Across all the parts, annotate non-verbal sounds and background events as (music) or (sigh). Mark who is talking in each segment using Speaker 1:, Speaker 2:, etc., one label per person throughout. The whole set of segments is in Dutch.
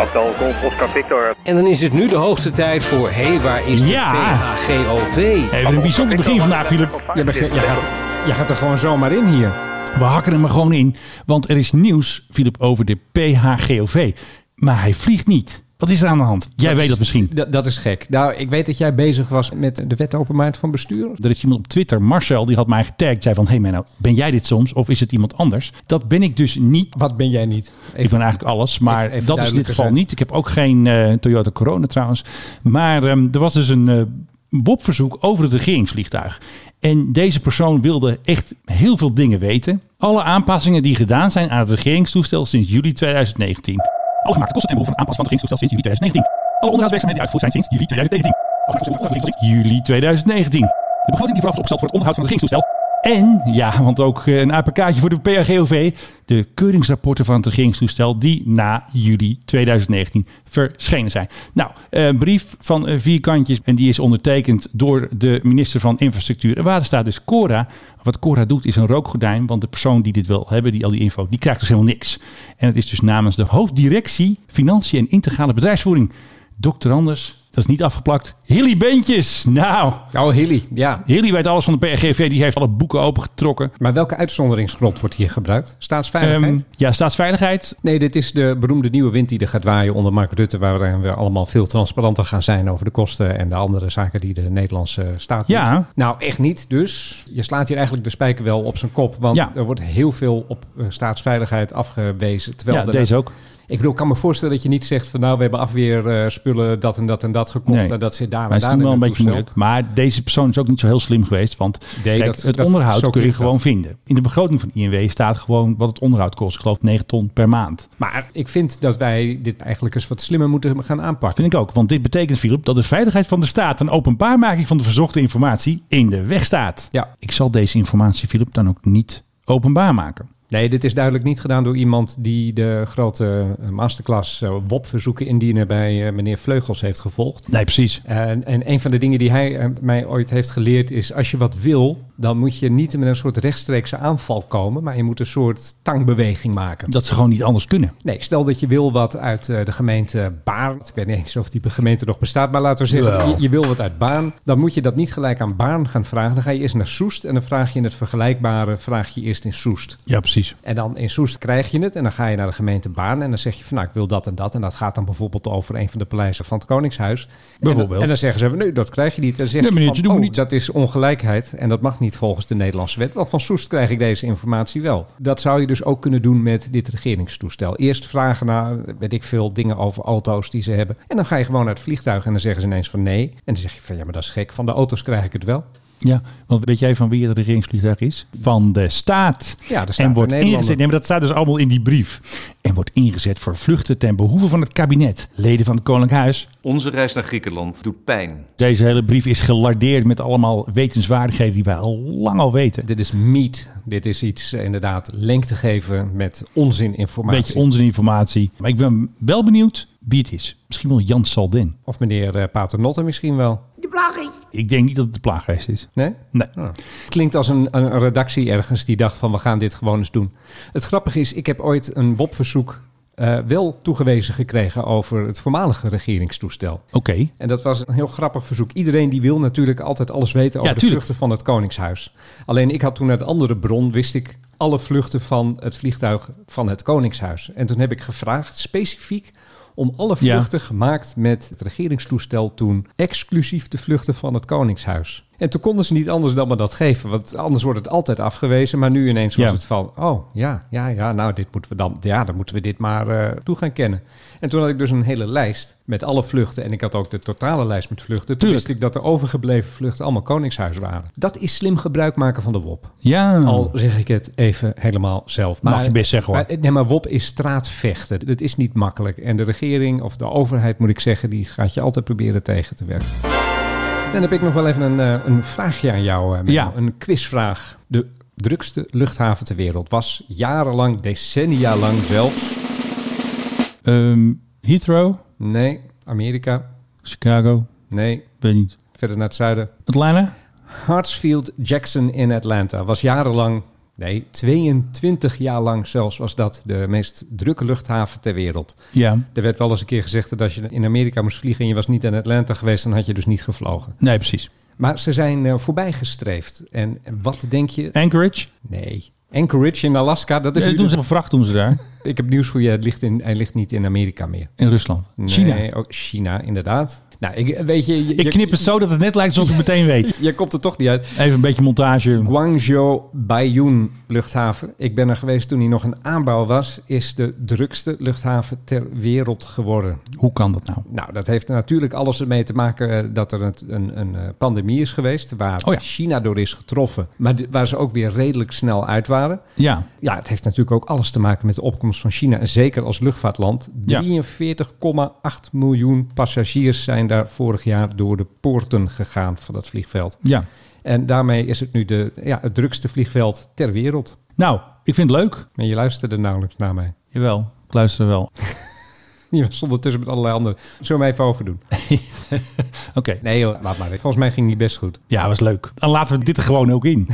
Speaker 1: Abdel Golf Oscar Victor.
Speaker 2: En dan is het nu de hoogste tijd voor... Hé, hey, waar is de
Speaker 3: Ja.
Speaker 2: PHGOV?
Speaker 3: Even een bijzonder begin vandaag, Philip.
Speaker 1: Je
Speaker 4: Jij beg- jij gaat, jij gaat er gewoon zomaar in hier.
Speaker 3: We hakken hem er gewoon in, want er is nieuws, Philip, over de PHGOV. Maar hij vliegt niet. Wat is er aan de hand? Jij weet dat misschien.
Speaker 4: Dat, dat is gek. Nou, ik weet dat jij bezig was met de wet openbaarheid van bestuur.
Speaker 3: Er is iemand op Twitter, Marcel, die had mij getagd. Zei van, hey Menno, ben jij dit soms of is het iemand anders? Dat ben ik dus niet.
Speaker 4: Wat ben jij niet?
Speaker 3: Ik ben eigenlijk alles, maar
Speaker 4: even- even
Speaker 3: dat is in dit
Speaker 4: duidelijker
Speaker 3: geval
Speaker 4: zijn.
Speaker 3: niet. Ik heb ook geen eh, Toyota Corona trouwens. Maar ehm, er was dus een eh WOP-verzoek over het regeringsvliegtuig. En deze persoon wilde echt heel veel dingen weten. Alle aanpassingen die gedaan zijn aan het regeringstoestel sinds juli 2019. Alle gemaakte kosten ten behoeve van aanpassen van het regeringstoestel sinds juli 2019. Alle onderhoudswerkzaamheden die uitgevoerd zijn sinds juli 2019. Alle kosten van het regeringstoestel sinds juli 2019. De begroting die vooraf is opgesteld voor het onderhoud van het regeringstoestel en, ja, want ook eh, een APK'tje voor de PRGOV, de keuringsrapporten van het regeringstoestel die na juli 2019 verschenen zijn. Nou, eh, een brief van eh, vier kantjes en die is ondertekend door de minister van Infrastructuur en Waterstaat, dus Cora. Wat Cora doet is een rookgordijn, want de persoon die dit wil hebben, die al die info, die krijgt dus helemaal niks. En het is dus namens de hoofddirectie Financiën en Integrale Bedrijfsvoering. Dr. Anders, dat is niet afgeplakt, Hilly Beentjes. Nou,
Speaker 4: Oh, Hilly, ja.
Speaker 3: Hilly weet alles van de PRGV, die heeft alle boeken opengetrokken.
Speaker 4: Maar welke uitzonderingsgrond wordt hier gebruikt? Staatsveiligheid?
Speaker 3: Ehm, ja, staatsveiligheid.
Speaker 4: nee, dit is de beroemde nieuwe wind die er gaat waaien onder Mark Rutte... waar we allemaal veel transparanter gaan zijn over de kosten... en de andere zaken die de Nederlandse staat doet.
Speaker 3: Ja.
Speaker 4: Nou, echt niet. Dus je slaat hier eigenlijk de spijker wel op zijn kop... want
Speaker 3: Ja.
Speaker 4: er wordt heel veel op eh, staatsveiligheid afgewezen. Terwijl
Speaker 3: Ja,
Speaker 4: er-
Speaker 3: deze ook.
Speaker 4: Ik bedoel, ik kan me voorstellen dat je niet zegt van... nou, we hebben afweerspullen, dat en dat en dat gekocht...
Speaker 3: Nee.
Speaker 4: en dat zit daar
Speaker 3: Maar
Speaker 4: en
Speaker 3: het is
Speaker 4: daar
Speaker 3: toen
Speaker 4: in
Speaker 3: wel een
Speaker 4: het
Speaker 3: beetje
Speaker 4: toestel.
Speaker 3: moeilijk. Maar deze persoon is ook niet zo heel slim geweest. Want
Speaker 4: Nee,
Speaker 3: kijk,
Speaker 4: dat-
Speaker 3: het
Speaker 4: dat- zo
Speaker 3: onderhoud kun je
Speaker 4: klinkt
Speaker 3: gewoon
Speaker 4: dat.
Speaker 3: vinden. In de begroting van INW staat gewoon wat het onderhoud kost. Ik geloof 9 ton per maand.
Speaker 4: Maar ik vind dat wij dit eigenlijk eens wat slimmer moeten gaan aanpakken.
Speaker 3: Vind ik ook. Want dit betekent, Philip, dat de veiligheid van de staat... en openbaarmaking van de verzochte informatie in de weg staat.
Speaker 4: Ja.
Speaker 3: Ik zal deze informatie, Philip, dan ook niet openbaar maken.
Speaker 4: Nee, dit is duidelijk niet gedaan door iemand die de grote eh, masterclass eh, WOP-verzoeken indienen bij eh, meneer Vleugels heeft gevolgd.
Speaker 3: Nee, precies.
Speaker 4: En, en een van de dingen die hij eh, mij ooit heeft geleerd is, als je wat wil, dan moet je niet met een soort rechtstreekse aanval komen, maar je moet een soort tangbeweging maken.
Speaker 3: Dat ze gewoon niet anders kunnen.
Speaker 4: Nee, stel dat je wil wat uit eh, de gemeente Baan. Ik weet niet eens of die gemeente nog bestaat, maar laten we zeggen,
Speaker 3: Wel.
Speaker 4: je, je wil wat uit Baan. Dan moet je dat niet gelijk aan Baan gaan vragen. Dan ga je eerst naar Soest en dan vraag je in het vergelijkbare, vraag je eerst in Soest.
Speaker 3: Ja, precies.
Speaker 4: En dan in Soest krijg je het en dan ga je naar de gemeente Baan en dan zeg je van nou, ik wil dat en dat. En dat gaat dan bijvoorbeeld over een van de paleizen van het Koningshuis. En dan- En,
Speaker 3: Bijvoorbeeld.
Speaker 4: dan zeggen ze, nee, dat krijg je niet. Dan zeg
Speaker 3: Nee,
Speaker 4: je
Speaker 3: meneertje,
Speaker 4: van,
Speaker 3: doen we
Speaker 4: oh,
Speaker 3: niet.
Speaker 4: dat is ongelijkheid en dat mag niet volgens de Nederlandse wet. Want van Soest krijg ik deze informatie wel. Dat zou je dus ook kunnen doen met dit regeringstoestel. Eerst vragen naar, weet ik veel, dingen over auto's die ze hebben. En dan ga je gewoon naar het vliegtuig en dan zeggen ze ineens van nee. En dan zeg je van ja, maar dat is gek. Van de auto's krijg ik het wel.
Speaker 3: Ja, want weet jij van wie het regeringsvliegtuig is? Van de staat.
Speaker 4: Ja, de staat
Speaker 3: en wordt
Speaker 4: van Nederland.
Speaker 3: ingezet. Nee, maar dat staat dus allemaal in die brief. En wordt ingezet voor vluchten ten behoeve van het kabinet, leden van het Koninklijk Huis.
Speaker 5: Onze reis naar Griekenland doet pijn.
Speaker 3: Deze hele brief is gelardeerd met allemaal wetenswaardigheden die wij al lang al weten.
Speaker 4: Dit is meat. Dit is iets eh, inderdaad lengte geven met onzininformatie.
Speaker 3: Beetje onzininformatie. Maar ik ben wel benieuwd wie het is. Misschien wel Jan Saldin.
Speaker 4: Of meneer eh, Paternotte misschien wel.
Speaker 3: Ik denk niet dat het de plaaggeest is.
Speaker 4: Nee?
Speaker 3: Nee.
Speaker 4: Ah. Klinkt als een, een redactie ergens die dacht van we gaan dit gewoon eens doen. Het grappige is, ik heb ooit een WOP-verzoek eh, wel toegewezen gekregen over het voormalige regeringstoestel.
Speaker 3: Oké.
Speaker 4: En dat was een heel grappig verzoek. Iedereen die wil natuurlijk altijd alles weten over
Speaker 3: Ja,
Speaker 4: de
Speaker 3: tuurlijk.
Speaker 4: vluchten van het Koningshuis. Alleen ik had toen uit andere bron, wist ik alle vluchten van het vliegtuig van het Koningshuis. En toen heb ik gevraagd specifiek om alle
Speaker 3: Ja.
Speaker 4: vluchten gemaakt met het regeringstoestel toen exclusief de vluchten van het Koningshuis. En toen konden ze niet anders dan me dat geven, want anders wordt het altijd afgewezen. Maar nu ineens was
Speaker 3: Ja.
Speaker 4: het van, oh ja, ja, ja, nou dit moeten we dan, ja, dan moeten we dit maar eh, toe gaan kennen. En toen had ik dus een hele lijst met alle vluchten en ik had ook de totale lijst met vluchten. Toen
Speaker 3: Tuurlijk.
Speaker 4: wist ik dat de overgebleven vluchten allemaal Koningshuis waren. Dat is slim gebruik maken van de WOP.
Speaker 3: Ja.
Speaker 4: Al zeg ik het even helemaal zelf.
Speaker 3: Hmm. Mag je best zeggen, hoor.
Speaker 4: Maar, nee, maar WOP is straatvechten. Dat is niet makkelijk. En de regering of de overheid, moet ik zeggen, die gaat je altijd proberen tegen te werken. Dan heb ik nog wel even een, eh, een vraagje aan jou. eh, Menno.
Speaker 3: Ja.
Speaker 4: Een quizvraag. De drukste luchthaven ter wereld was jarenlang, decennia lang zelfs.
Speaker 3: Ehm, Heathrow,
Speaker 4: Nee, Amerika.
Speaker 3: Chicago,
Speaker 4: Nee,
Speaker 3: weet niet.
Speaker 4: verder naar het zuiden.
Speaker 3: Atlanta?
Speaker 4: Hartsfield Jackson in Atlanta was jarenlang Nee, 22 jaar lang zelfs was dat de meest drukke luchthaven ter wereld.
Speaker 3: Ja.
Speaker 4: Er werd wel eens een keer gezegd dat als je in Amerika moest vliegen en je was niet in Atlanta geweest, dan had je dus niet gevlogen.
Speaker 3: Nee, precies.
Speaker 4: Maar ze zijn eh, voorbij gestreefd. En wat denk je?
Speaker 3: Anchorage.
Speaker 4: Nee. Anchorage in Alaska, dat is
Speaker 3: Eh,
Speaker 4: nu
Speaker 3: doen
Speaker 4: de-
Speaker 3: ze vracht doen ze daar.
Speaker 4: Ik heb nieuws voor je, het ligt in, hij ligt niet in Amerika meer.
Speaker 3: In Rusland.
Speaker 4: Nee,
Speaker 3: China.
Speaker 4: Ook China, inderdaad. Nou, ik, weet je, je,
Speaker 3: Ik knip het zo dat het net lijkt alsof ik het meteen weet. (laughs)
Speaker 4: je, je komt er toch niet uit.
Speaker 3: Even een beetje montage.
Speaker 4: Guangzhou Baiyun luchthaven. Ik ben er geweest toen hij nog een aanbouw was. Is de drukste luchthaven ter wereld geworden.
Speaker 3: Hoe kan dat nou?
Speaker 4: Nou, dat heeft natuurlijk alles ermee te maken eh, dat er een, een, een eh, pandemie is geweest. Waar
Speaker 3: Oh ja.
Speaker 4: China door is getroffen. Maar di- waar ze ook weer redelijk snel uit waren.
Speaker 3: Ja,
Speaker 4: Ja, het heeft natuurlijk ook alles te maken met de opkomst van China. En zeker als luchtvaartland.
Speaker 3: Ja.
Speaker 4: 43,8 miljoen passagiers zijn daar vorig jaar door de poorten gegaan van dat vliegveld.
Speaker 3: ja.
Speaker 4: En daarmee is het nu de, ja, het drukste vliegveld ter wereld.
Speaker 3: Nou, ik vind het leuk.
Speaker 4: En je luisterde nauwelijks naar mij. (laughs)
Speaker 3: Jawel, ik luister wel.
Speaker 4: Je was ondertussen met allerlei anderen. Zullen we hem even
Speaker 3: (laughs)
Speaker 4: overdoen?
Speaker 3: Oké,
Speaker 4: Nee joh, laat maar. Volgens mij ging die best goed.
Speaker 3: ja, was leuk. Dan laten we dit er gewoon ook (laughs) in.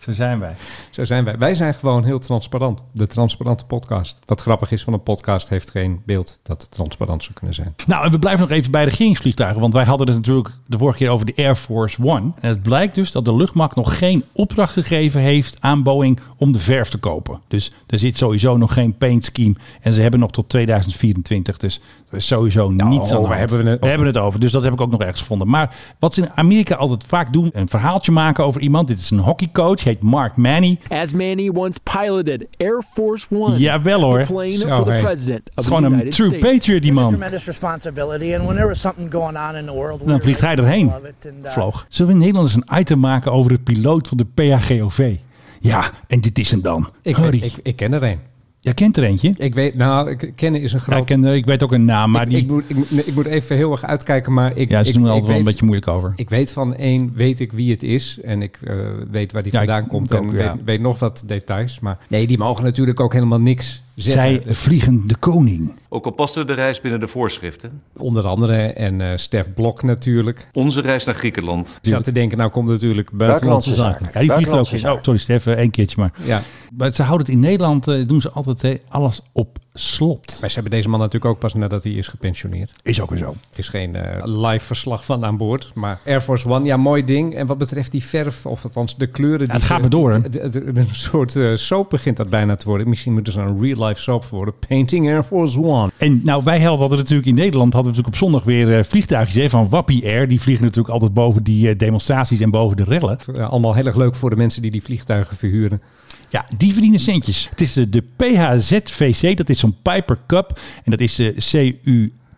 Speaker 3: Zo zijn wij.
Speaker 4: Zo zijn wij. Wij zijn gewoon heel transparant. De transparante podcast. Wat grappig is van een podcast heeft geen beeld dat het transparant zou kunnen zijn.
Speaker 3: Nou, en we blijven nog even bij regeringsvliegtuigen. Want wij hadden het natuurlijk de vorige keer over de Air Force One. En het blijkt dus dat de luchtmacht nog geen opdracht gegeven heeft aan Boeing om de verf te kopen. Dus er zit sowieso nog geen paint scheme. En ze hebben nog tot 2024. Dus er is sowieso niets aan de
Speaker 4: waar
Speaker 3: hand.
Speaker 4: hebben Nou, oh, we het
Speaker 3: we hebben het over. Dus dat heb ik ook nog ergens gevonden. Maar wat ze in Amerika altijd vaak doen, een verhaaltje maken over iemand. Dit is een hockeycoach, heet Mark Manny.
Speaker 1: as Manny once piloted Air Force One.
Speaker 3: Jawel hoor.
Speaker 1: The plane
Speaker 4: Zo,
Speaker 3: Oh,
Speaker 1: for the
Speaker 4: Oh, hey.
Speaker 1: president
Speaker 3: Het
Speaker 1: of
Speaker 3: is
Speaker 1: the
Speaker 3: gewoon een
Speaker 1: United
Speaker 3: true
Speaker 1: States.
Speaker 3: patriot die
Speaker 6: It's a
Speaker 3: man.
Speaker 6: tremendous responsibility, and when there was something going on in the world, we
Speaker 3: Dan
Speaker 6: were
Speaker 3: vliegt hij
Speaker 6: right in the
Speaker 3: erheen.
Speaker 6: middle of it, and, uh,
Speaker 3: Vloog. Zullen we in Nederland eens een item maken over de piloot van de PHGOV? Ja, en dit is hem dan.
Speaker 4: Ik,
Speaker 3: Hurry.
Speaker 4: ik, ik ken er een.
Speaker 3: Jij kent er eentje?
Speaker 4: Ik weet, nou, ik- kennen is een
Speaker 3: Ja, ik,
Speaker 4: groot...
Speaker 3: ken, er- ik weet ook een naam, maar
Speaker 4: ik,
Speaker 3: die...
Speaker 4: ik moet, ik, moet- nee, ik moet even heel erg uitkijken, maar ik...
Speaker 3: ja, ze
Speaker 4: ik,
Speaker 3: doen er
Speaker 4: ik
Speaker 3: altijd wel een
Speaker 4: weet-
Speaker 3: beetje moeilijk over.
Speaker 4: Ik weet van één, weet ik wie het is. En ik eh, weet waar die
Speaker 3: Ja, ik-
Speaker 4: vandaan komt.
Speaker 3: ik
Speaker 4: en
Speaker 3: ook, ja.
Speaker 4: weet, weet nog wat details. Maar nee, die mogen natuurlijk ook helemaal niks zeggen.
Speaker 3: Zij vliegen de koning.
Speaker 5: Ook al paste de reis binnen de voorschriften.
Speaker 4: Onder andere en eh Stef Blok natuurlijk.
Speaker 5: Onze reis naar Griekenland.
Speaker 4: Ik zat te denken, nou komt natuurlijk buitenlandse zaken.
Speaker 3: Ja, die vliegt er ook eens. Oh, sorry Stef, eh, één keertje maar.
Speaker 4: Ja,
Speaker 3: Maar ze houden het in Nederland, eh, doen ze altijd eh, alles op slot.
Speaker 4: maar ze hebben deze man natuurlijk ook pas nadat hij is gepensioneerd.
Speaker 3: Is ook weer zo.
Speaker 4: Het is geen eh, live verslag van aan boord, maar Air Force One, ja, mooi ding. En wat betreft die verf, of althans de kleuren... die
Speaker 3: het
Speaker 4: ze-
Speaker 3: gaat maar door, hè?
Speaker 4: Het- het- het- Een soort eh, soap begint dat bijna te worden. Misschien moet er zo'n real-life soap voor worden. Painting Air Force One.
Speaker 3: En nou, wij helden hadden natuurlijk in Nederland hadden we natuurlijk op zondag weer eh, vliegtuigjes hè, van Wappie Air. Die vliegen natuurlijk altijd boven die eh, demonstraties en boven de rellen.
Speaker 4: Ja, allemaal heel erg leuk voor de mensen die die vliegtuigen verhuren.
Speaker 3: Ja, die verdienen centjes. Het is eh, de, de PHZVC, dat is zo'n Piper Cup. En dat is eh, de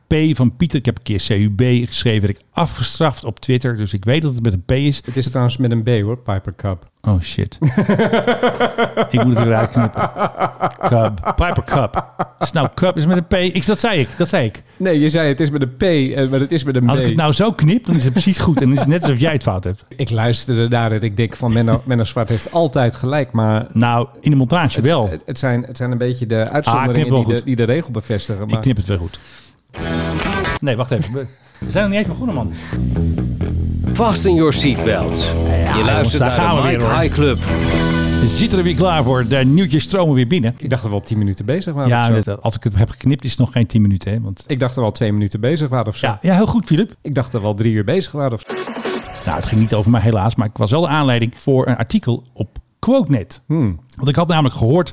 Speaker 3: CUP van Pieter. Ik heb een keer CUB geschreven, werd ik afgestraft op Twitter. Dus ik weet dat het met een P is.
Speaker 4: Het is trouwens met een B hoor, Piper Cup.
Speaker 3: Oh shit. ik moet het eruit knippen. Cup. Piper Cup. Is het nou Cup? Is het met een P? Ik, dat zei ik, dat zei ik.
Speaker 4: Nee, je zei het is met een P, eh, maar het is met een B.
Speaker 3: Als ik het nou zo knip, dan is het precies goed. En dan is het net alsof jij het fout hebt.
Speaker 4: Ik luisterde naar het. Ik denk van (laughs) Menno, Menno Zwart heeft altijd gelijk, maar...
Speaker 3: Nou, in de montage
Speaker 4: Het,
Speaker 3: wel.
Speaker 4: het, het zijn, het zijn een beetje de
Speaker 3: Ah, ik knip
Speaker 4: uitzonderingen
Speaker 3: wel
Speaker 4: die, de,
Speaker 3: goed.
Speaker 4: die de regel bevestigen.
Speaker 3: Ik
Speaker 4: Maar
Speaker 3: knip het weer goed. Nee, wacht even. We- We zijn nog niet eens begonnen, man.
Speaker 2: Vast in your seatbelt. je luistert
Speaker 3: daar gaan
Speaker 2: naar
Speaker 3: we
Speaker 2: de
Speaker 3: weer,
Speaker 2: Mike
Speaker 3: hoor.
Speaker 2: High Club.
Speaker 3: Zit er weer klaar voor. De nieuwtjes stromen weer binnen.
Speaker 4: ik dacht dat we al tien minuten bezig waren.
Speaker 3: Ja,
Speaker 4: of zo.
Speaker 3: dat- als ik het heb geknipt is het nog geen 10 minuten. Hè? Want,
Speaker 4: Ik dacht dat we al twee minuten bezig waren of zo.
Speaker 3: ja, ja, heel goed, Filip.
Speaker 4: Ik dacht dat we al drie uur bezig waren of zo.
Speaker 3: Nou, het ging niet over mij helaas, maar ik was wel de aanleiding voor een artikel op QuoteNet. Want ik had namelijk gehoord,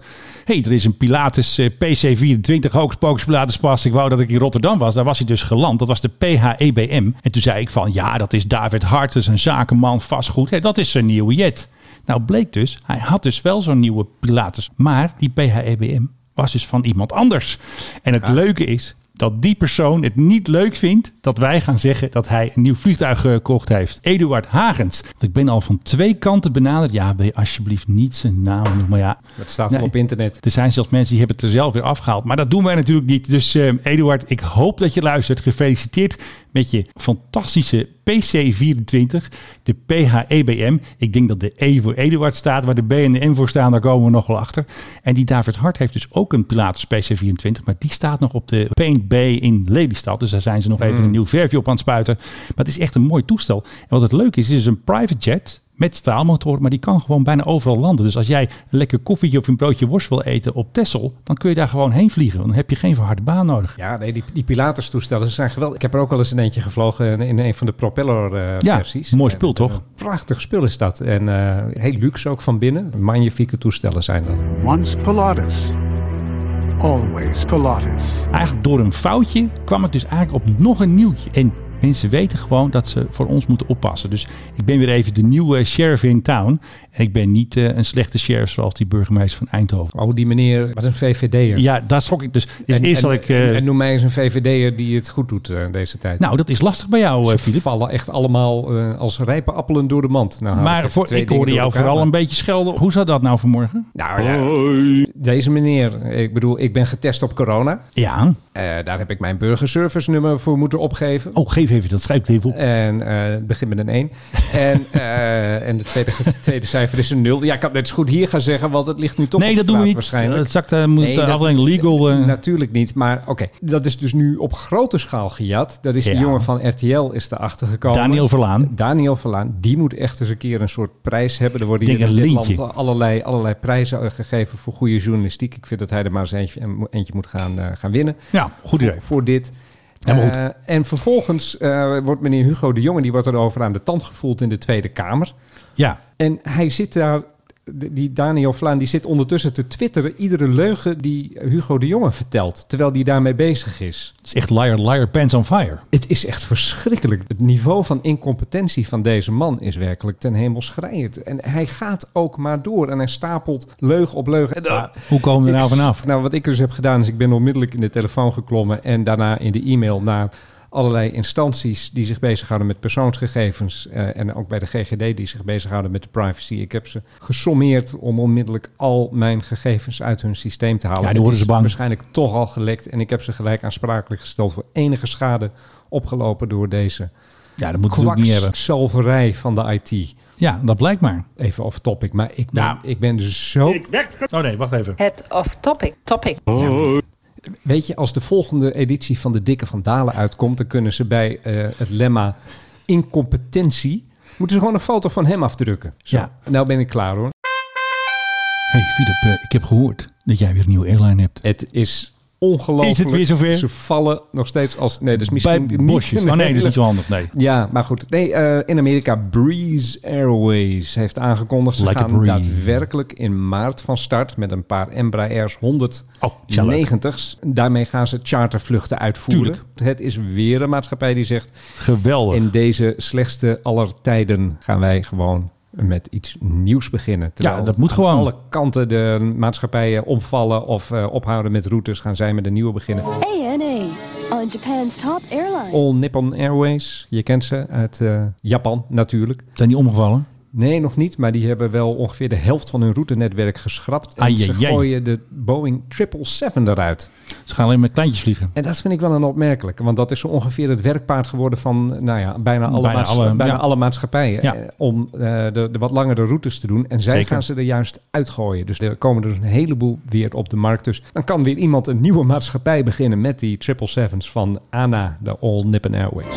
Speaker 3: hé, hey, er is een Pilatus eh, PC24 hoogspooks Pilatus pas. Ik wou dat ik in Rotterdam was. Daar was hij dus geland. Dat was de PHEBM. En toen zei ik van, ja, dat is David Hart, dat is een zakenman, vastgoed. Hé, dat is zijn nieuwe jet. Nou, bleek dus, hij had dus wel zo'n nieuwe Pilatus. Maar die PHEBM was dus van iemand anders. En het leuke is dat die persoon het niet leuk vindt dat wij gaan zeggen dat hij een nieuw vliegtuig eh, gekocht heeft. Eduard Hagens. Want ik ben al van twee kanten benaderd. Ja, wil je alsjeblieft niet zijn naam noemen. Maar ja,
Speaker 4: Dat staat
Speaker 3: Nee.
Speaker 4: wel op internet.
Speaker 3: er zijn zelfs mensen die hebben het er zelf weer afgehaald. Maar dat doen wij natuurlijk niet. Dus eh, Eduard, ik hoop dat je luistert. Gefeliciteerd met je fantastische PC24, de PHEBM. Ik denk dat de E voor Eduard staat. Waar de B en de M voor staan, daar komen we nog wel achter. En die David Hart heeft dus ook een Pilatus PC24. Maar die staat nog op de Paint Bay in Lelystad. Dus daar zijn ze nog even een nieuw verfje op aan het spuiten. Maar het is echt een mooi toestel. En wat het leuk is, het is een private jet met staalmotor, maar die kan gewoon bijna overal landen. Dus als jij een lekker koffietje of een broodje worst wil eten op Texel, dan kun je daar gewoon heen vliegen. Dan heb je geen verharde baan nodig.
Speaker 4: Ja, nee, die, die Pilatus toestellen, ze zijn geweldig. Ik heb er ook wel eens een eentje gevlogen in een van de propeller eh,
Speaker 3: Ja,
Speaker 4: versies.
Speaker 3: mooi
Speaker 4: En,
Speaker 3: spul,
Speaker 4: eh,
Speaker 3: toch?
Speaker 4: Prachtig spul is dat. En eh, heel luxe ook van binnen. Magnifieke toestellen zijn dat.
Speaker 7: Once Pilatus, always Pilatus.
Speaker 3: Eigenlijk door een foutje kwam ik dus eigenlijk op nog een nieuwtje. En mensen weten gewoon dat ze voor ons moeten oppassen. Dus ik ben weer even de nieuwe sheriff in town. En ik ben niet eh, een slechte sheriff zoals die burgemeester van Eindhoven.
Speaker 4: Oh, die meneer was een VVD'er.
Speaker 3: Ja, daar schrok ik dus. Dus
Speaker 4: en,
Speaker 3: eerst
Speaker 4: en,
Speaker 3: dat ik... eh,
Speaker 4: en noem mij eens een VVD'er die het goed doet eh, deze tijd.
Speaker 3: nou, dat is lastig bij jou, eh,
Speaker 4: Ze
Speaker 3: Filip.
Speaker 4: vallen echt allemaal eh, als rijpe appelen door de mand. Nou, haal
Speaker 3: Maar
Speaker 4: even
Speaker 3: voor,
Speaker 4: twee
Speaker 3: ik
Speaker 4: dingen
Speaker 3: hoorde jou
Speaker 4: door elkaar,
Speaker 3: vooral
Speaker 4: maar-
Speaker 3: een beetje schelden. Hoe zat dat nou vanmorgen?
Speaker 4: Nou ja, deze meneer. Ik bedoel, ik ben getest op corona.
Speaker 3: Ja.
Speaker 4: Eh, daar heb ik mijn burgerservice nummer voor moeten opgeven.
Speaker 3: Oh, geef even dat schrijf het even op.
Speaker 4: En eh, het begint met een 1.
Speaker 3: (laughs)
Speaker 4: En, eh, en de tweede, het tweede cijfer is een 0. Ja, ik kan het net zo goed hier gaan zeggen, want het ligt nu toch
Speaker 3: nee,
Speaker 4: op
Speaker 3: dat
Speaker 4: straat
Speaker 3: doen we niet.
Speaker 4: waarschijnlijk.
Speaker 3: Het zakt eh, moet
Speaker 4: Nee,
Speaker 3: de
Speaker 4: dat-
Speaker 3: afdeling legal. eh,
Speaker 4: Natuurlijk niet, maar oké. Dat is dus nu op grote schaal gejat. Dat is
Speaker 3: Ja.
Speaker 4: die jongen van RTL is erachter gekomen.
Speaker 3: Daniel Verlaan.
Speaker 4: Daniel Verlaan, die moet echt eens een keer een soort prijs hebben. Er worden
Speaker 3: Ik
Speaker 4: hier
Speaker 3: denk
Speaker 4: in
Speaker 3: een
Speaker 4: dit
Speaker 3: lintje.
Speaker 4: land allerlei, allerlei prijzen eh, gegeven voor goede journalistiek. Ik vind dat hij er maar eens eentje, eentje moet gaan, eh, gaan winnen
Speaker 3: ja, goed idee.
Speaker 4: voor dit.
Speaker 3: Helemaal goed.
Speaker 4: Eh, en vervolgens eh, wordt meneer Hugo de Jonge, die wordt erover aan de tand gevoeld in de Tweede Kamer.
Speaker 3: Ja.
Speaker 4: En hij zit daar, d- die Daniel Vlaan, die zit ondertussen te twitteren iedere leugen die Hugo de Jonge vertelt, terwijl die daarmee bezig is.
Speaker 3: Het is echt liar, liar, pants on fire.
Speaker 4: Het is echt verschrikkelijk. Het niveau van incompetentie van deze man is werkelijk ten hemel schrijend. En hij gaat ook maar door en hij stapelt leugen op leugen. En,
Speaker 3: Maar hoe komen we er nou
Speaker 4: Eh, ik-
Speaker 3: vanaf?
Speaker 4: Nou, wat ik dus heb gedaan is, ik ben onmiddellijk in de telefoon geklommen en daarna in de e-mail naar allerlei instanties die zich bezighouden met persoonsgegevens eh, en ook bij de GGD die zich bezighouden met de privacy. Ik heb ze gesommeerd om onmiddellijk al mijn gegevens uit hun systeem te halen.
Speaker 3: Ja, die
Speaker 4: Het
Speaker 3: worden
Speaker 4: is
Speaker 3: ze bang.
Speaker 4: Waarschijnlijk toch al gelekt en ik heb ze gelijk aansprakelijk gesteld voor enige schade opgelopen door deze
Speaker 3: Ja, dat moet we natuurlijk niet hebben.
Speaker 4: kwakzalverij van de IT.
Speaker 3: Ja, dat blijkt maar.
Speaker 4: Even off topic, maar ik ben,
Speaker 3: Nou.
Speaker 4: ik ben dus zo
Speaker 3: Oh nee, wacht even.
Speaker 8: Het off topic. Topic.
Speaker 4: Weet je, als de volgende editie van de Dikke van Dalen uitkomt, dan kunnen ze bij eh, het lemma incompetentie. Moeten ze gewoon een foto van hem afdrukken? Zo.
Speaker 3: Ja.
Speaker 4: Nou ben ik klaar hoor.
Speaker 3: Hey Filip, eh, ik heb gehoord dat jij weer een nieuwe airline hebt.
Speaker 4: Het is ongelooflijk.
Speaker 3: Is het weer zover?
Speaker 4: Ze vallen nog steeds als. Nee, dat is
Speaker 3: Bij
Speaker 4: misschien. niet
Speaker 3: bosjes.
Speaker 4: een
Speaker 3: Oh nee, dat is
Speaker 4: hele-
Speaker 3: niet zo handig. Nee.
Speaker 4: Ja, maar goed. Nee, eh, in Amerika, Breeze Airways heeft aangekondigd. Ze
Speaker 3: Like a
Speaker 4: gaan
Speaker 3: breeze.
Speaker 4: daadwerkelijk in maart van start met een paar Embraers 100
Speaker 3: Oh, die zijn leuk.
Speaker 4: 90's. Daarmee gaan ze chartervluchten uitvoeren.
Speaker 3: Tuurlijk.
Speaker 4: Het is weer een maatschappij die zegt...
Speaker 3: Geweldig.
Speaker 4: In deze slechtste aller tijden gaan wij gewoon met iets nieuws beginnen.
Speaker 3: Ja, dat moet
Speaker 4: aan
Speaker 3: gewoon.
Speaker 4: alle kanten de maatschappijen omvallen of eh, ophouden met routes, gaan zij met een nieuwe beginnen.
Speaker 9: ANA on Japan's top airline.
Speaker 4: All Nippon Airways, je kent ze uit eh, Japan natuurlijk.
Speaker 3: Zijn die omgevallen?
Speaker 4: Nee, nog niet, maar die hebben wel ongeveer de helft van hun routenetwerk geschrapt. En
Speaker 3: Ai,
Speaker 4: ze
Speaker 3: ai, ai.
Speaker 4: gooien de Boeing 777 eruit.
Speaker 3: Ze gaan alleen met kleintjes vliegen.
Speaker 4: En dat vind ik wel een opmerkelijke, want dat is zo ongeveer het werkpaard geworden van nou ja, bijna alle,
Speaker 3: Bijna
Speaker 4: maats-
Speaker 3: alle,
Speaker 4: bijna
Speaker 3: ja.
Speaker 4: alle maatschappijen.
Speaker 3: Ja.
Speaker 4: eh, om eh, de, de wat langere routes te doen. En zij
Speaker 3: Zeker.
Speaker 4: gaan ze er juist uitgooien. Dus er komen er dus een heleboel weer op de markt. Dus dan kan weer iemand een nieuwe maatschappij beginnen met die 777's van ANA, de All Nippon Airways.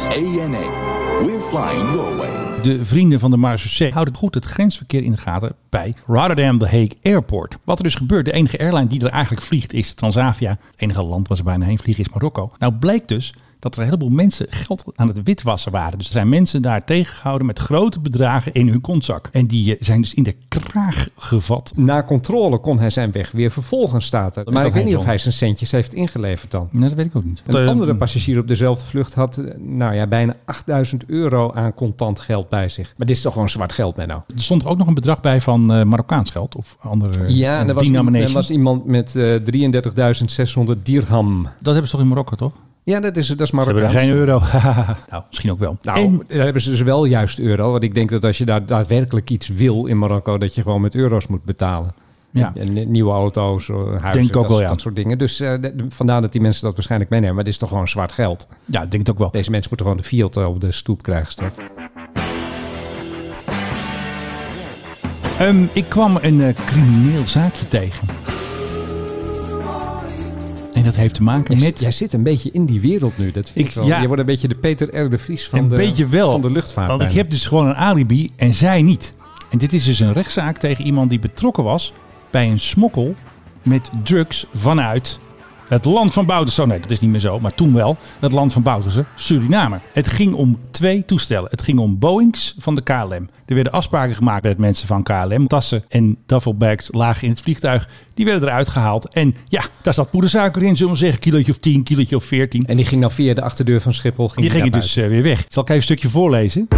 Speaker 3: De vrienden van de Marseillais houden goed het grensverkeer in de gaten bij Rotterdam The Hague Airport. Wat er dus gebeurt, de enige airline die er eigenlijk vliegt is Transavia. Het enige land waar ze bijna heen vliegen is Marokko. Nou blijkt dus dat er een heleboel mensen geld aan het witwassen waren. Dus er zijn mensen daar tegengehouden met grote bedragen in hun kontzak. En die eh, zijn dus in de kraag gevat.
Speaker 4: Na controle kon hij zijn weg weer vervolgen, staat er.
Speaker 3: kan
Speaker 4: Maar ik
Speaker 3: hij
Speaker 4: weet niet
Speaker 3: wel.
Speaker 4: of hij zijn centjes heeft ingeleverd dan.
Speaker 3: Nou, dat weet ik ook niet.
Speaker 4: Een
Speaker 3: Eh,
Speaker 4: andere passagier op dezelfde vlucht had eh, nou ja, bijna 8000 euro aan contant geld bij zich. Maar dit is toch gewoon zwart geld, Menno?
Speaker 3: Er stond ook nog een bedrag bij van eh, Marokkaans geld of andere eh,
Speaker 4: Ja, en er was, iemand,
Speaker 3: denomination.
Speaker 4: er was iemand met eh 33.600 dirham.
Speaker 3: Dat hebben ze toch in Marokko, toch? Ze
Speaker 4: Ja, dat is, dat is
Speaker 3: hebben daar
Speaker 4: Marokkaans.
Speaker 3: geen euro. (laughs) nou, misschien ook wel.
Speaker 4: Nou,
Speaker 3: En-
Speaker 4: daar hebben ze dus wel juist euro. Want ik denk dat als je daar daadwerkelijk iets wil in Marokko... dat je gewoon met euro's moet betalen.
Speaker 3: ja.
Speaker 4: En, eh, nieuwe auto's, eh, huizen,
Speaker 3: Denk ook
Speaker 4: dat,
Speaker 3: wel, ja.
Speaker 4: dat soort dingen. Dus eh, de- de- vandaar dat die mensen dat waarschijnlijk meenemen. Maar dit is toch gewoon zwart geld.
Speaker 3: ja, ik denk het ook wel.
Speaker 4: Deze mensen moeten gewoon de Fiat op de stoep krijgen straks.
Speaker 3: Ehm, ik kwam een eh, crimineel zaakje tegen. En dat heeft te maken
Speaker 4: Jij,
Speaker 3: met...
Speaker 4: jij zit een beetje in die wereld nu. Dat vind
Speaker 3: Ik-
Speaker 4: ik, wel.
Speaker 3: ja.
Speaker 4: Je wordt een beetje de Peter R. de Vries van,
Speaker 3: een
Speaker 4: de,
Speaker 3: beetje wel.
Speaker 4: van de luchtvaart.
Speaker 3: Want ik
Speaker 4: bijna.
Speaker 3: heb dus gewoon een alibi en zij niet. En dit is dus een rechtszaak tegen iemand die betrokken was bij een smokkel met drugs vanuit het land van Boutersen. Nee, dat is niet meer zo, maar toen wel. Het land van Boutersen, Suriname. Het ging om twee toestellen. Het ging om Boeings van de KLM. Er werden afspraken gemaakt met mensen van KLM. Tassen en duffelbags lagen in het vliegtuig. Die werden eruit gehaald. En ja, daar zat poedersuiker in, zullen we zeggen. Kilootje of 10, kilootje of 14.
Speaker 4: En die ging dan via de achterdeur van Schiphol. Ging
Speaker 3: Die gingen
Speaker 4: naar
Speaker 3: dus eh, weer weg. Zal ik even een stukje voorlezen?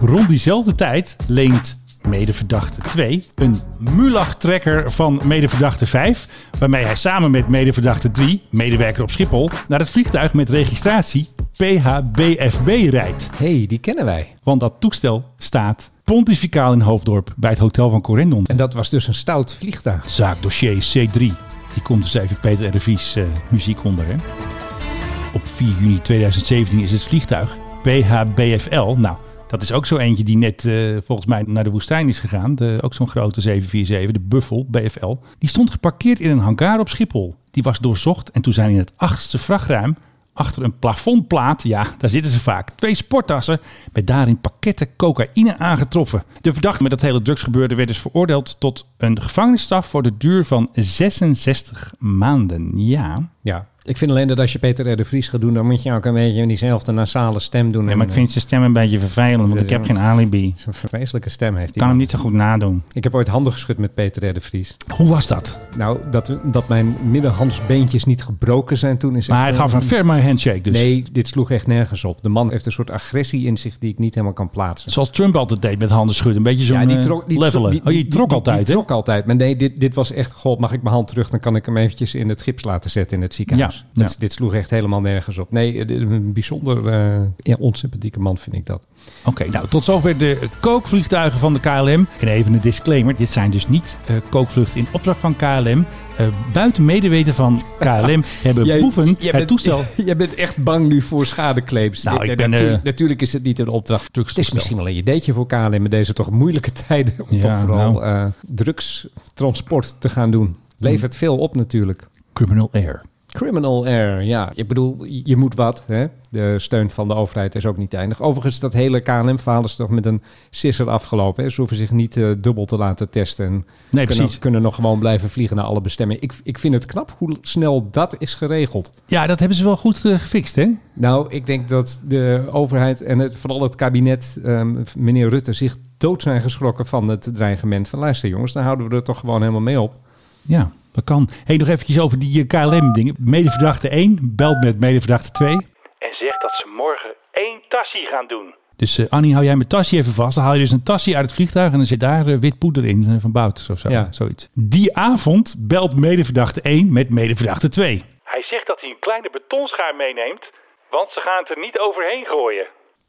Speaker 3: Rond diezelfde tijd leent medeverdachte 2 een Mulach-trekker van medeverdachte 5, waarmee hij samen met medeverdachte 3, medewerker op Schiphol, naar het vliegtuig met registratie PHBFB rijdt.
Speaker 4: buiten. hey, die kennen wij.
Speaker 3: Want dat toestel staat pontificaal in Hoofddorp bij het hotel van Corendon.
Speaker 4: En dat was dus een stout vliegtuig.
Speaker 3: Zaakdossier C3. Hier komt dus even Peter R. de Vries eh, muziek onder. Hè? Op 4 juni 2017 is het vliegtuig PHBFL. Nou, dat is ook zo eentje die net eh, volgens mij naar de woestijn is gegaan. De, ook zo'n grote 747, de Buffel BFL. Die stond geparkeerd in een hangar op Schiphol. Die was doorzocht en toen zijn in het achtste vrachtruim achter een plafondplaat, ja, daar zitten ze vaak, twee sporttassen met daarin pakketten cocaïne aangetroffen. De verdachte met dat hele drugsgebeurde werd dus veroordeeld tot een gevangenisstraf voor de duur van 66 maanden. Ja,
Speaker 4: Ja. Ik vind alleen dat als je Peter R. de Vries gaat doen, dan moet je ook een beetje diezelfde nasale stem doen.
Speaker 3: Nee,
Speaker 4: En,
Speaker 3: maar ik
Speaker 4: eh,
Speaker 3: vind zijn stem een beetje vervelend, want
Speaker 4: Dus
Speaker 3: ik heb
Speaker 4: ja.
Speaker 3: geen alibi. Ik
Speaker 4: Zo'n vreselijke stem heeft hij.
Speaker 3: kan hem niet zo goed nadoen.
Speaker 4: Ik heb ooit handen geschud met Peter R. de Vries.
Speaker 3: Hoe was dat?
Speaker 4: Nou, dat, dat mijn middenhandsbeentjes niet gebroken zijn toen is
Speaker 3: Maar
Speaker 4: echt
Speaker 3: hij gaf een
Speaker 4: een-
Speaker 3: ferme handshake dus.
Speaker 4: Nee, dit sloeg echt nergens op. De man heeft een soort agressie in zich die ik niet helemaal kan plaatsen.
Speaker 3: Zoals Trump altijd deed met handen schudden. Een beetje zo'n eh, levelen. oh, je trok altijd,
Speaker 4: die,
Speaker 3: hè?
Speaker 4: trok altijd. Maar nee, dit, dit was echt... God, mag ik mijn hand terug? Dan kan ik hem eventjes in het gips laten zetten in het ziekenhuis.
Speaker 3: Ja,
Speaker 4: Dat-
Speaker 3: ja.
Speaker 4: Dit sloeg echt helemaal nergens op. Nee, eh, dit- een bijzonder eh, ja, onsympathieke man vind ik dat.
Speaker 3: Oké, nou tot zover de kookvliegtuigen van de KLM. En even een disclaimer: dit zijn dus niet eh, kookvluchten in opdracht van KLM. Eh, buiten medeweten van (laughs) KLM hebben boeven het (laughs) toestel.
Speaker 4: (laughs) Jij bent echt bang nu voor schadeclaims.
Speaker 3: Nou,
Speaker 4: Ja,
Speaker 3: ik ben,
Speaker 4: natuurlijk,
Speaker 3: eh,
Speaker 4: natuurlijk is het niet een opdracht. Het is
Speaker 3: drugstoestel.
Speaker 4: misschien wel een ideetje voor KLM met deze toch moeilijke (laughs) tijden. Om
Speaker 3: Ja,
Speaker 4: toch vooral
Speaker 3: nou. Mm.
Speaker 4: eh, drugstransport te gaan doen. Levert veel op natuurlijk.
Speaker 3: Criminal Air.
Speaker 4: Criminal Air, ja. Ik bedoel, je moet wat. Hè? De steun van de overheid is ook niet eindig. Overigens, dat hele KLM-verhaal is toch met een sisser afgelopen. Hè? Ze hoeven zich niet eh, dubbel te laten testen. En
Speaker 3: Nee,
Speaker 4: kunnen,
Speaker 3: precies.
Speaker 4: kunnen nog gewoon blijven vliegen naar alle bestemmingen. Ik, ik vind het knap hoe snel dat is geregeld.
Speaker 3: Ja, dat hebben ze wel goed eh, gefixt, hè?
Speaker 4: Nou, ik denk dat de overheid en het, vooral het kabinet, ehm, meneer Rutte, zich dood zijn geschrokken van het dreigement van luister jongens, daar houden we er toch gewoon helemaal mee op.
Speaker 3: Ja, dat kan. hey, nog eventjes over die eh, KLM-dingen. Medeverdachte 1 belt met medeverdachte 2.
Speaker 8: en zegt dat ze morgen één tassie gaan doen.
Speaker 3: Dus eh, Annie, hou jij mijn tasje even vast. Dan haal je dus een tasje uit het vliegtuig en dan zit daar eh, wit poeder in eh, van Bouters of zo.
Speaker 4: Ja.
Speaker 3: Zoiets. Die avond belt medeverdachte 1 met medeverdachte 2.
Speaker 8: Hij zegt dat hij een kleine betonschaar meeneemt, want ze gaan het er niet overheen gooien.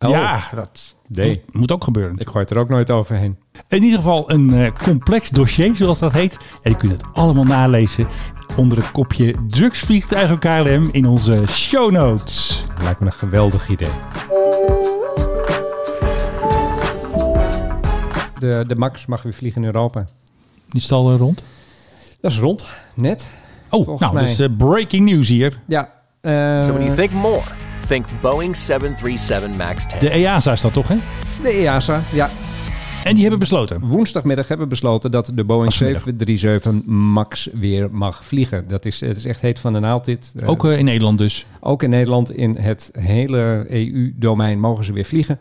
Speaker 3: Ja, dat
Speaker 4: Oh. Nee,
Speaker 3: moet ook gebeuren.
Speaker 4: ik gooi het er ook nooit overheen.
Speaker 3: In ieder geval een eh, complex dossier, zoals dat heet. En je kunt het allemaal nalezen onder het kopje Drugsvliegtuigen KLM in onze show notes.
Speaker 4: Lijkt me een geweldig idee. De, de Max mag weer vliegen in Europa.
Speaker 3: Is het al eh, rond?
Speaker 4: Dat is rond, net.
Speaker 3: Oh,
Speaker 4: Volgens
Speaker 3: nou,
Speaker 4: mij.
Speaker 3: dus eh, breaking news hier.
Speaker 4: Ja. eh,
Speaker 10: So when you think more, think Boeing 737 MAX 10.
Speaker 3: De E EASA is dat toch, hè?
Speaker 4: de EASA, ja.
Speaker 3: En die hebben besloten.
Speaker 4: Woensdagmiddag hebben besloten dat de Boeing
Speaker 3: Als vanmiddag.
Speaker 4: 737 MAX weer mag vliegen. Dat is, het is echt heet van de naald dit. Eh,
Speaker 3: Ook eh, in Nederland dus.
Speaker 4: Ook in Nederland, in het hele EU-domein, mogen ze weer vliegen.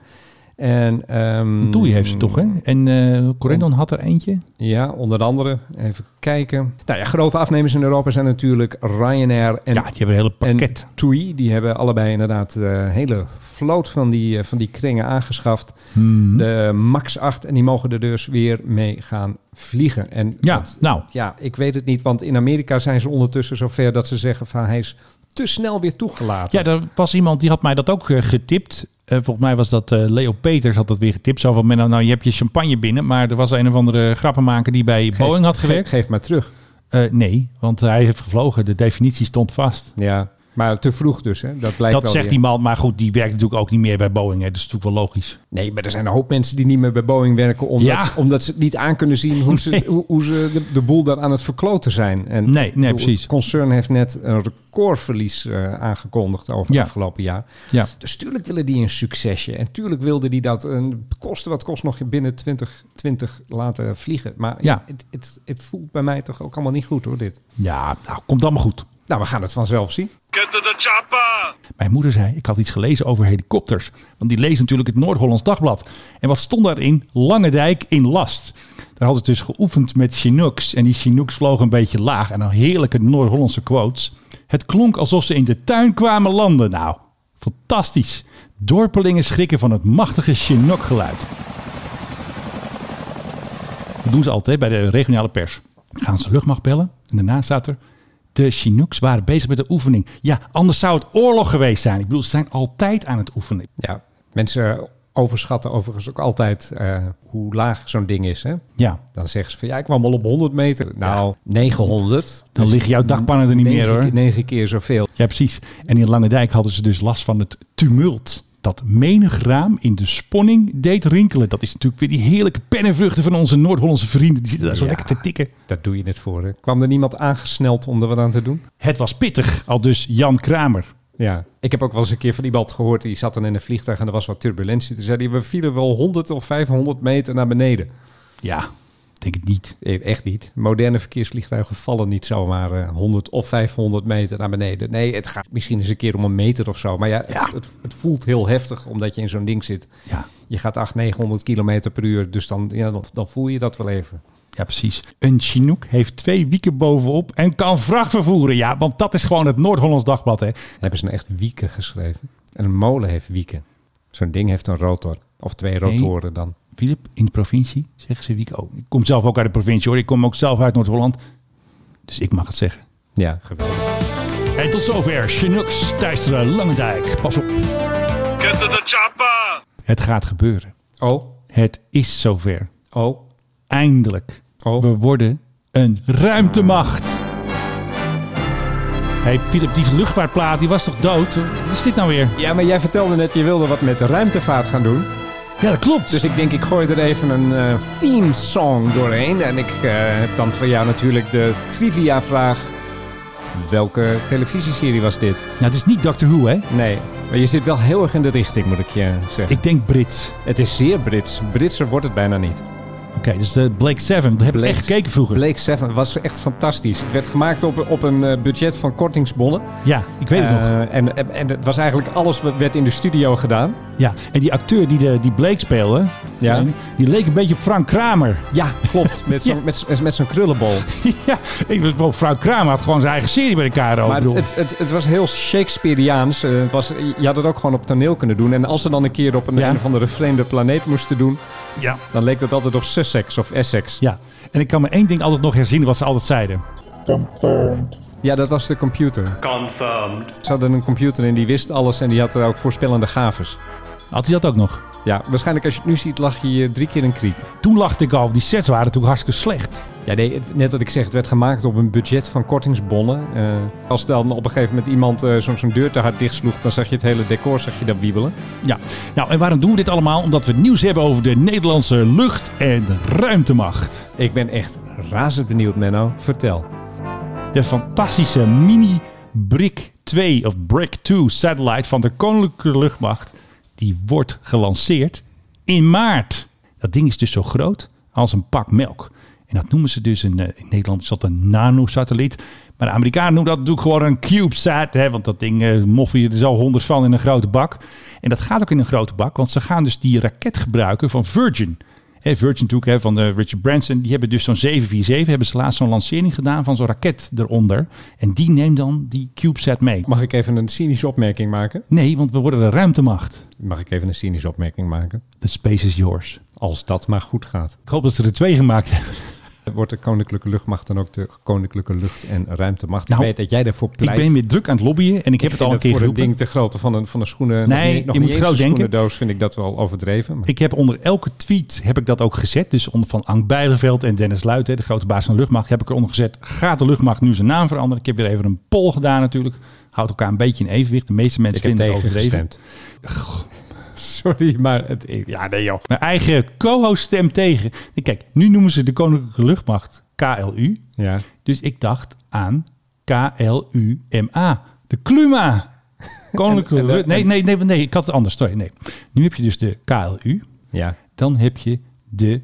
Speaker 4: En, ehm,
Speaker 3: Toei heeft ze toch, hè? En eh Corendon had er eentje.
Speaker 4: Ja, onder andere. Even kijken. Nou ja, grote afnemers in Europa zijn natuurlijk Ryanair en,
Speaker 3: ja, die hebben een hele
Speaker 4: en
Speaker 3: pakket.
Speaker 4: TUI. Die hebben allebei inderdaad eh hele vloot van die, eh, van die kringen aangeschaft.
Speaker 3: Hmm.
Speaker 4: De MAX 8. En die mogen er dus weer mee gaan vliegen. En
Speaker 3: Ja,
Speaker 4: dat-
Speaker 3: nou,
Speaker 4: ja, ik weet het niet. Want in Amerika zijn ze ondertussen zover dat ze zeggen van hij is te snel weer toegelaten.
Speaker 3: Ja, er was iemand die had mij dat ook eh, getipt. Eh, volgens mij was dat eh, Leo Peters had dat weer getipt. Zo van, "Menno, nou je hebt je champagne binnen. Maar er was een of andere grappenmaker die bij Boeing had
Speaker 4: Geef,
Speaker 3: gewerkt.
Speaker 4: geef maar terug.
Speaker 3: Eh, nee, want hij heeft gevlogen. De definitie stond vast.
Speaker 4: Ja. Maar te vroeg dus, hè? dat blijkt
Speaker 3: Dat
Speaker 4: wel
Speaker 3: zegt
Speaker 4: weer.
Speaker 3: die man, maar goed, die werkt natuurlijk ook niet meer bij Boeing. Hè. Dat is natuurlijk wel logisch.
Speaker 4: Nee, maar er zijn een hoop mensen die niet meer bij Boeing werken... omdat,
Speaker 3: Ja.
Speaker 4: ze, omdat ze het niet aan kunnen zien hoe
Speaker 3: (laughs)
Speaker 4: ze, hoe, hoe ze de, de boel daar aan het verkloten zijn. En
Speaker 3: Nee, nee,
Speaker 4: ik bedoel,
Speaker 3: precies.
Speaker 4: Het concern heeft net een recordverlies eh, aangekondigd over
Speaker 3: Ja.
Speaker 4: het afgelopen jaar.
Speaker 3: Ja.
Speaker 4: Dus tuurlijk willen die een succesje. En tuurlijk wilden die dat een kosten wat kost nog binnen 2020 laten vliegen. Maar
Speaker 3: Ja.
Speaker 4: ja. het, het, het voelt bij mij toch ook allemaal niet goed hoor, dit.
Speaker 3: Ja, nou, komt allemaal goed.
Speaker 4: Nou, we gaan het vanzelf zien.
Speaker 3: Mijn moeder zei, ik had iets gelezen over helikopters. Want die leest natuurlijk het Noord-Hollands Dagblad. En wat stond daarin? Langendijk in last. Daar hadden ze dus geoefend met Chinooks. En die Chinooks vlogen een beetje laag. En dan heerlijke Noord-Hollandse quotes. Het klonk alsof ze in de tuin kwamen landen. Nou, fantastisch. Dorpelingen schrikken van het machtige Chinook geluid. Dat doen ze altijd bij de regionale pers. Dan gaan ze de luchtmacht bellen. En daarna staat er... De Chinooks waren bezig met de oefening. Ja, anders zou het oorlog geweest zijn. Ik bedoel, ze zijn altijd aan het oefenen.
Speaker 4: Ja, mensen overschatten overigens ook altijd eh, hoe laag zo'n ding is. Hè?
Speaker 3: Ja,
Speaker 4: Dan zeggen ze van ja, ik kwam al op 100 meter. Nou, 900.
Speaker 3: dan
Speaker 4: Dus
Speaker 3: liggen jouw dakpannen er niet
Speaker 4: negen
Speaker 3: meer hoor.
Speaker 4: keer- Negen keer zoveel.
Speaker 3: Ja, precies. En in Langendijk hadden ze dus last van het tumult. Dat menig raam in de sponning deed rinkelen. Dat is natuurlijk weer die heerlijke pennenvruchten van onze Noord-Hollandse vrienden. Die zitten daar zo
Speaker 4: Ja.
Speaker 3: lekker te tikken.
Speaker 4: Daar doe je het voor. Hè? Kwam er niemand aangesneld om er wat aan te doen?
Speaker 3: Het was pittig, al dus Jan Kramer.
Speaker 4: Ja, ik heb ook wel eens een keer van iemand gehoord. Die zat dan in een vliegtuig en er was wat turbulentie. Toen zei hij, we vielen wel 100 of 500 meter naar beneden.
Speaker 3: Ja, ik denk het niet.
Speaker 4: Eh, Echt niet. Moderne verkeersvliegtuigen vallen niet zomaar eh, 100 of 500 meter naar beneden. Nee, het gaat misschien eens een keer om een meter of zo. Maar ja, het,
Speaker 3: Ja.
Speaker 4: Het, het voelt heel heftig omdat je in zo'n ding zit.
Speaker 3: Ja.
Speaker 4: Je gaat 800, 900 kilometer per uur. Dus dan, ja, dan, dan voel je dat wel even.
Speaker 3: Ja, precies. Een Chinook heeft twee wieken bovenop en kan vracht vervoeren. Ja, want dat is gewoon het Noord-Hollands Dagblad, hè.
Speaker 4: Hebben ze nou echt wieken geschreven? En een molen heeft wieken. Zo'n ding heeft een rotor. Of twee rotoren dan.
Speaker 3: Filip, in de provincie zeggen ze wieken. Oh, ik kom zelf ook uit de provincie, hoor. Ik kom ook zelf uit Noord-Holland. Dus ik mag het zeggen.
Speaker 4: Ja, geweldig.
Speaker 3: En tot zover Chinooks tijdens de Langendijk. Pas op. Het gaat gebeuren.
Speaker 4: Oh,
Speaker 3: Het is zover.
Speaker 4: oh.
Speaker 3: Eindelijk.
Speaker 4: Oh.
Speaker 3: We worden een ruimtemacht. hey, Filip, die luchtvaartplaat die was toch dood? Wat is dit nou weer?
Speaker 4: Ja, maar jij vertelde net, je wilde wat met de ruimtevaart gaan doen.
Speaker 3: Ja, dat klopt.
Speaker 4: Dus ik denk, ik gooi er even een eh, theme song doorheen. En ik eh, heb dan voor jou natuurlijk de trivia vraag. Welke televisieserie was dit?
Speaker 3: Nou, het is niet Doctor Who, hè?
Speaker 4: Nee, maar je zit wel heel erg in de richting, moet ik je zeggen.
Speaker 3: Ik denk Brits.
Speaker 4: Het is zeer Brits. Britser wordt het bijna niet.
Speaker 3: Oké, dus de Blake Seven. Dat heb ik
Speaker 4: Blake-
Speaker 3: echt gekeken vroeger.
Speaker 4: Blake Seven was echt fantastisch. Het werd gemaakt op, op een eh, budget van kortingsbonnen.
Speaker 3: Ja, ik weet het nog.
Speaker 4: Eh, En, en, en het was eigenlijk alles wat werd in de studio gedaan.
Speaker 3: Ja, en die acteur die, de, die Blake speelde,
Speaker 4: Ja.
Speaker 3: die leek een beetje op Frank Kramer.
Speaker 4: Ja,
Speaker 3: (laughs)
Speaker 4: klopt. Met zo'n met, z'n- met zo'n
Speaker 3: Oh,
Speaker 4: krullenbol.
Speaker 3: ja, ik was wel Frank Kramer had gewoon zijn eigen serie bij elkaar. ook.
Speaker 4: Maar
Speaker 3: Ik
Speaker 4: het,
Speaker 3: bedoel,
Speaker 4: het, het, het was heel Shakespeareaans. Eh, het was, je had het ook gewoon op toneel kunnen doen. En als ze dan een keer op een,
Speaker 3: Ja.
Speaker 4: een of andere vreemde planeet moesten doen,
Speaker 3: ja.
Speaker 4: dan leek dat altijd op Sussex of Essex.
Speaker 3: ja, en ik kan me één ding altijd nog herzien wat ze altijd zeiden.
Speaker 4: Ja, dat was de computer. Confirmed. Ze hadden een computer en die wist alles en die had eh, ook voorspellende gaves.
Speaker 3: Had hij dat ook nog?
Speaker 4: Ja, waarschijnlijk als je het nu ziet, lag je eh, drie keer een kriek.
Speaker 3: Toen lachte ik al, die sets waren natuurlijk hartstikke slecht.
Speaker 4: Ja, nee, het- net wat ik zeg, het werd gemaakt op een budget van kortingsbonnen. Eh, als dan op een gegeven moment iemand eh, zo'n zo'n deur te hard dichtsloeg, dan zag je het hele decor zag je dan wiebelen.
Speaker 3: Ja, nou en waarom doen we dit allemaal? Omdat we nieuws hebben over de Nederlandse lucht- en ruimtemacht.
Speaker 4: Ik ben echt razend benieuwd, Menno. Vertel.
Speaker 3: de fantastische mini Brick 2 of Brick 2 satellite van de Koninklijke Luchtmacht. Die wordt gelanceerd in maart. Dat ding is dus zo groot als een pak melk. En dat noemen ze dus een, eh, in Nederland is dat een nanosatelliet. Maar de Amerikanen noemen dat natuurlijk gewoon een CubeSat. Hè, want dat ding eh, moffen je er zo honderd van in een grote bak. En dat gaat ook in een grote bak. Want ze gaan dus die raket gebruiken van Virgin. Hè, Virgin natuurlijk hè, van de Richard Branson. Die hebben dus zo'n 747. Hebben ze laatst zo'n lancering gedaan van zo'n raket eronder. En die neemt dan die CubeSat mee.
Speaker 4: Mag ik even een cynische opmerking maken?
Speaker 3: Nee, want we worden de ruimtemacht.
Speaker 4: Mag ik even een cynische opmerking maken?
Speaker 3: The space is yours.
Speaker 4: Als dat maar goed gaat.
Speaker 3: Ik hoop dat ze er twee gemaakt hebben.
Speaker 4: Wordt de Koninklijke Luchtmacht dan ook de Koninklijke Lucht- en Ruimtemacht?
Speaker 3: Nou,
Speaker 4: ik weet dat jij daarvoor pleit.
Speaker 3: Ik ben weer druk aan het lobbyen. En ik heb
Speaker 4: Ik
Speaker 3: het al een
Speaker 4: vind
Speaker 3: keer
Speaker 4: dat voor
Speaker 3: geroepen.
Speaker 4: een ding te groot van een, van een schoenen.
Speaker 3: Nee,
Speaker 4: nog niet, nog
Speaker 3: je
Speaker 4: niet
Speaker 3: moet
Speaker 4: eens
Speaker 3: groot
Speaker 4: een
Speaker 3: denken.
Speaker 4: schoenendoos vind ik dat wel overdreven. maar-
Speaker 3: Ik heb onder elke tweet heb ik dat ook gezet. Dus onder van Ank Bijleveld en Dennis Luit, hè, de grote baas van de luchtmacht, heb ik eronder gezet. Gaat de luchtmacht nu zijn naam veranderen? Ik heb weer even een poll gedaan natuurlijk. Houdt elkaar een beetje in evenwicht. De meeste mensen
Speaker 4: Ik heb
Speaker 3: vinden het
Speaker 4: tegen
Speaker 3: overdreven.
Speaker 4: gestemd. Sorry, maar het, ja, nee joh.
Speaker 3: Mijn eigen co-host stemt tegen. Kijk, nu noemen ze de Koninklijke Luchtmacht KLU.
Speaker 4: Ja.
Speaker 3: Dus ik dacht aan KLUMA. De Kluma. Koninklijke
Speaker 4: En- (laughs) en-
Speaker 3: Lucht... Nee, nee, nee, nee, ik had het anders. Sorry, nee. Nu heb je dus de KLU.
Speaker 4: Ja.
Speaker 3: Dan heb je de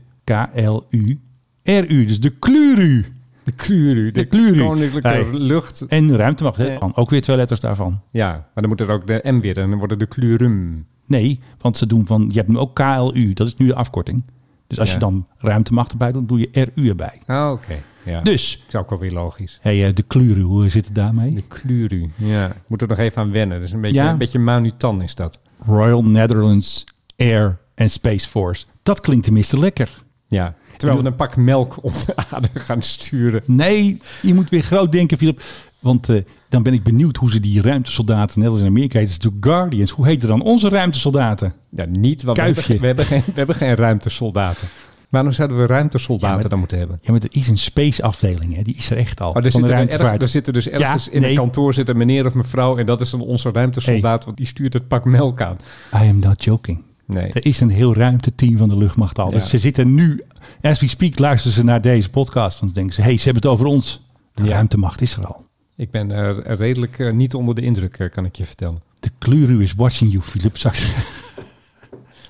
Speaker 3: KLU-RU. Dus de Kluru.
Speaker 4: De kluru.
Speaker 3: De kluru.
Speaker 4: Koninklijke
Speaker 3: Hey.
Speaker 4: lucht.
Speaker 3: En ruimtemacht, hè?
Speaker 4: Ja.
Speaker 3: Dan Ook weer twee letters daarvan.
Speaker 4: Ja, maar dan moet er ook de M weer. En dan wordt het de klurum.
Speaker 3: Nee, want ze doen van... Je hebt nu ook KLU. Dat is nu de afkorting. Dus als
Speaker 4: Ja.
Speaker 3: je dan ruimtemacht erbij doet, doe je RU erbij.
Speaker 4: Ah, oké. Ja.
Speaker 3: Dus...
Speaker 4: is ook wel weer logisch.
Speaker 3: Hey, eh, de kleuren, hoe zit het daarmee?
Speaker 4: De kluru. Ja. Ik moet er nog even aan wennen. Dat is een beetje,
Speaker 3: Ja.
Speaker 4: een beetje manutan is dat.
Speaker 3: Royal Netherlands Air and Space Force. Dat klinkt tenminste lekker.
Speaker 4: Ja. Terwijl we een pak melk (laughs) op de aarde gaan sturen.
Speaker 3: Nee, je moet weer groot denken, Philip. Want eh, dan ben ik benieuwd hoe ze die ruimtesoldaten, net als in Amerika heet het natuurlijk Guardians, hoe heten dan onze ruimtesoldaten?
Speaker 4: Ja, niet. Want we
Speaker 3: Kuifje.
Speaker 4: hebben, geen- we, hebben geen, we hebben geen ruimtesoldaten. Waarom zouden we ruimtesoldaten
Speaker 3: Ja, maar-
Speaker 4: dan moeten hebben?
Speaker 3: Ja, maar er is een space afdeling, hè? die is er echt al.
Speaker 4: Maar er
Speaker 3: van
Speaker 4: zit,
Speaker 3: de
Speaker 4: er, erg,
Speaker 3: ruimtevaart.
Speaker 4: er zitten dus ergens
Speaker 3: Ja,
Speaker 4: in
Speaker 3: nee.
Speaker 4: een kantoor zit een meneer of mevrouw. En dat is dan onze ruimtesoldaat. Want die stuurt het pak melk aan.
Speaker 3: I am not joking.
Speaker 4: Nee.
Speaker 3: Er is een heel ruimteteam van de luchtmacht al.
Speaker 4: Ja.
Speaker 3: Dus ze zitten nu, as we speak, luisteren ze naar deze podcast. Want dan denken ze, hey, ze hebben het over ons. De ruimtemacht is er al.
Speaker 4: Ik ben er redelijk eh, niet onder de indruk, eh, kan ik je vertellen.
Speaker 3: De kleur is watching you, Philip. Straks.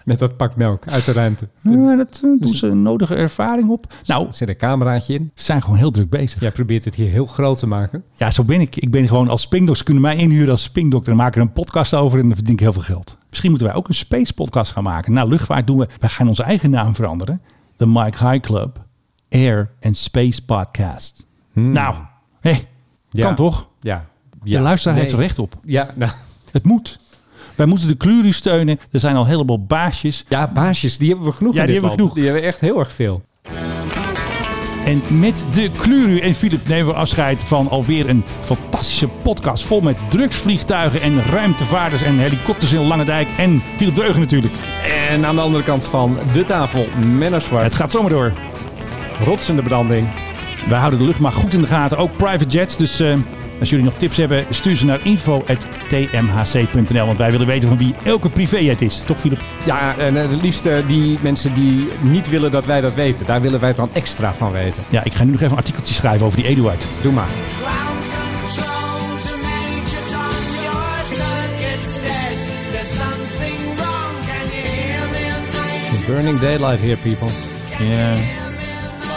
Speaker 4: Met dat pak melk uit de ruimte.
Speaker 3: dat eh, doen ze een nodige ervaring op. Nou,
Speaker 4: Er
Speaker 3: Dus ze
Speaker 4: zit een cameraatje in.
Speaker 3: zijn gewoon heel druk bezig. Ja,
Speaker 4: Jij probeert het hier heel groot te maken.
Speaker 3: zo ben ik. Ik ben gewoon als spingdokter. Ze kunnen mij inhuren als spingdokter. En maken er een podcast over en dan verdien ik heel veel geld. Misschien moeten wij ook een space podcast gaan maken. Nou, luchtvaart doen we. Wij gaan onze eigen naam veranderen. De Mike High Club Air and Space Podcast. Nou, hé,
Speaker 4: Hmm. Ja.
Speaker 3: kan toch?
Speaker 4: Ja.
Speaker 3: De luisteraar
Speaker 4: Nee.
Speaker 3: heeft er recht op.
Speaker 4: Ja, nou,
Speaker 3: Het moet. Wij moeten de kleuren steunen. Er zijn al een heleboel baasjes.
Speaker 4: ja, baasjes, die hebben we genoeg
Speaker 3: Ja,
Speaker 4: in
Speaker 3: die
Speaker 4: dit
Speaker 3: hebben we genoeg.
Speaker 4: land. Die hebben echt heel erg veel.
Speaker 3: En met de Kluru en Philip nemen we afscheid van alweer een fantastische podcast. Vol met drugsvliegtuigen en ruimtevaarders en helikopters in Langendijk. En Philip Dreugen natuurlijk.
Speaker 4: En aan de andere kant van de tafel, Menno
Speaker 3: Het
Speaker 4: Zwart,
Speaker 3: gaat zomaar door.
Speaker 4: rotsende branding.
Speaker 3: Wij houden de luchtmacht goed in de gaten. Ook private jets. Dus eh, als jullie nog tips hebben, stuur ze naar info.tmhc.nl. Want wij willen weten van wie elke privéjet is. Toch Philip?
Speaker 4: Ja, en eh, het liefst eh, die mensen die niet willen dat wij dat weten. Daar willen wij het dan extra van weten.
Speaker 3: Ja, ik ga nu nog even een artikeltje schrijven over die Eduard.
Speaker 4: Doe maar. Burning daylight here, people.
Speaker 3: Ja.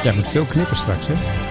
Speaker 4: Ja, met veel knippen straks, hè?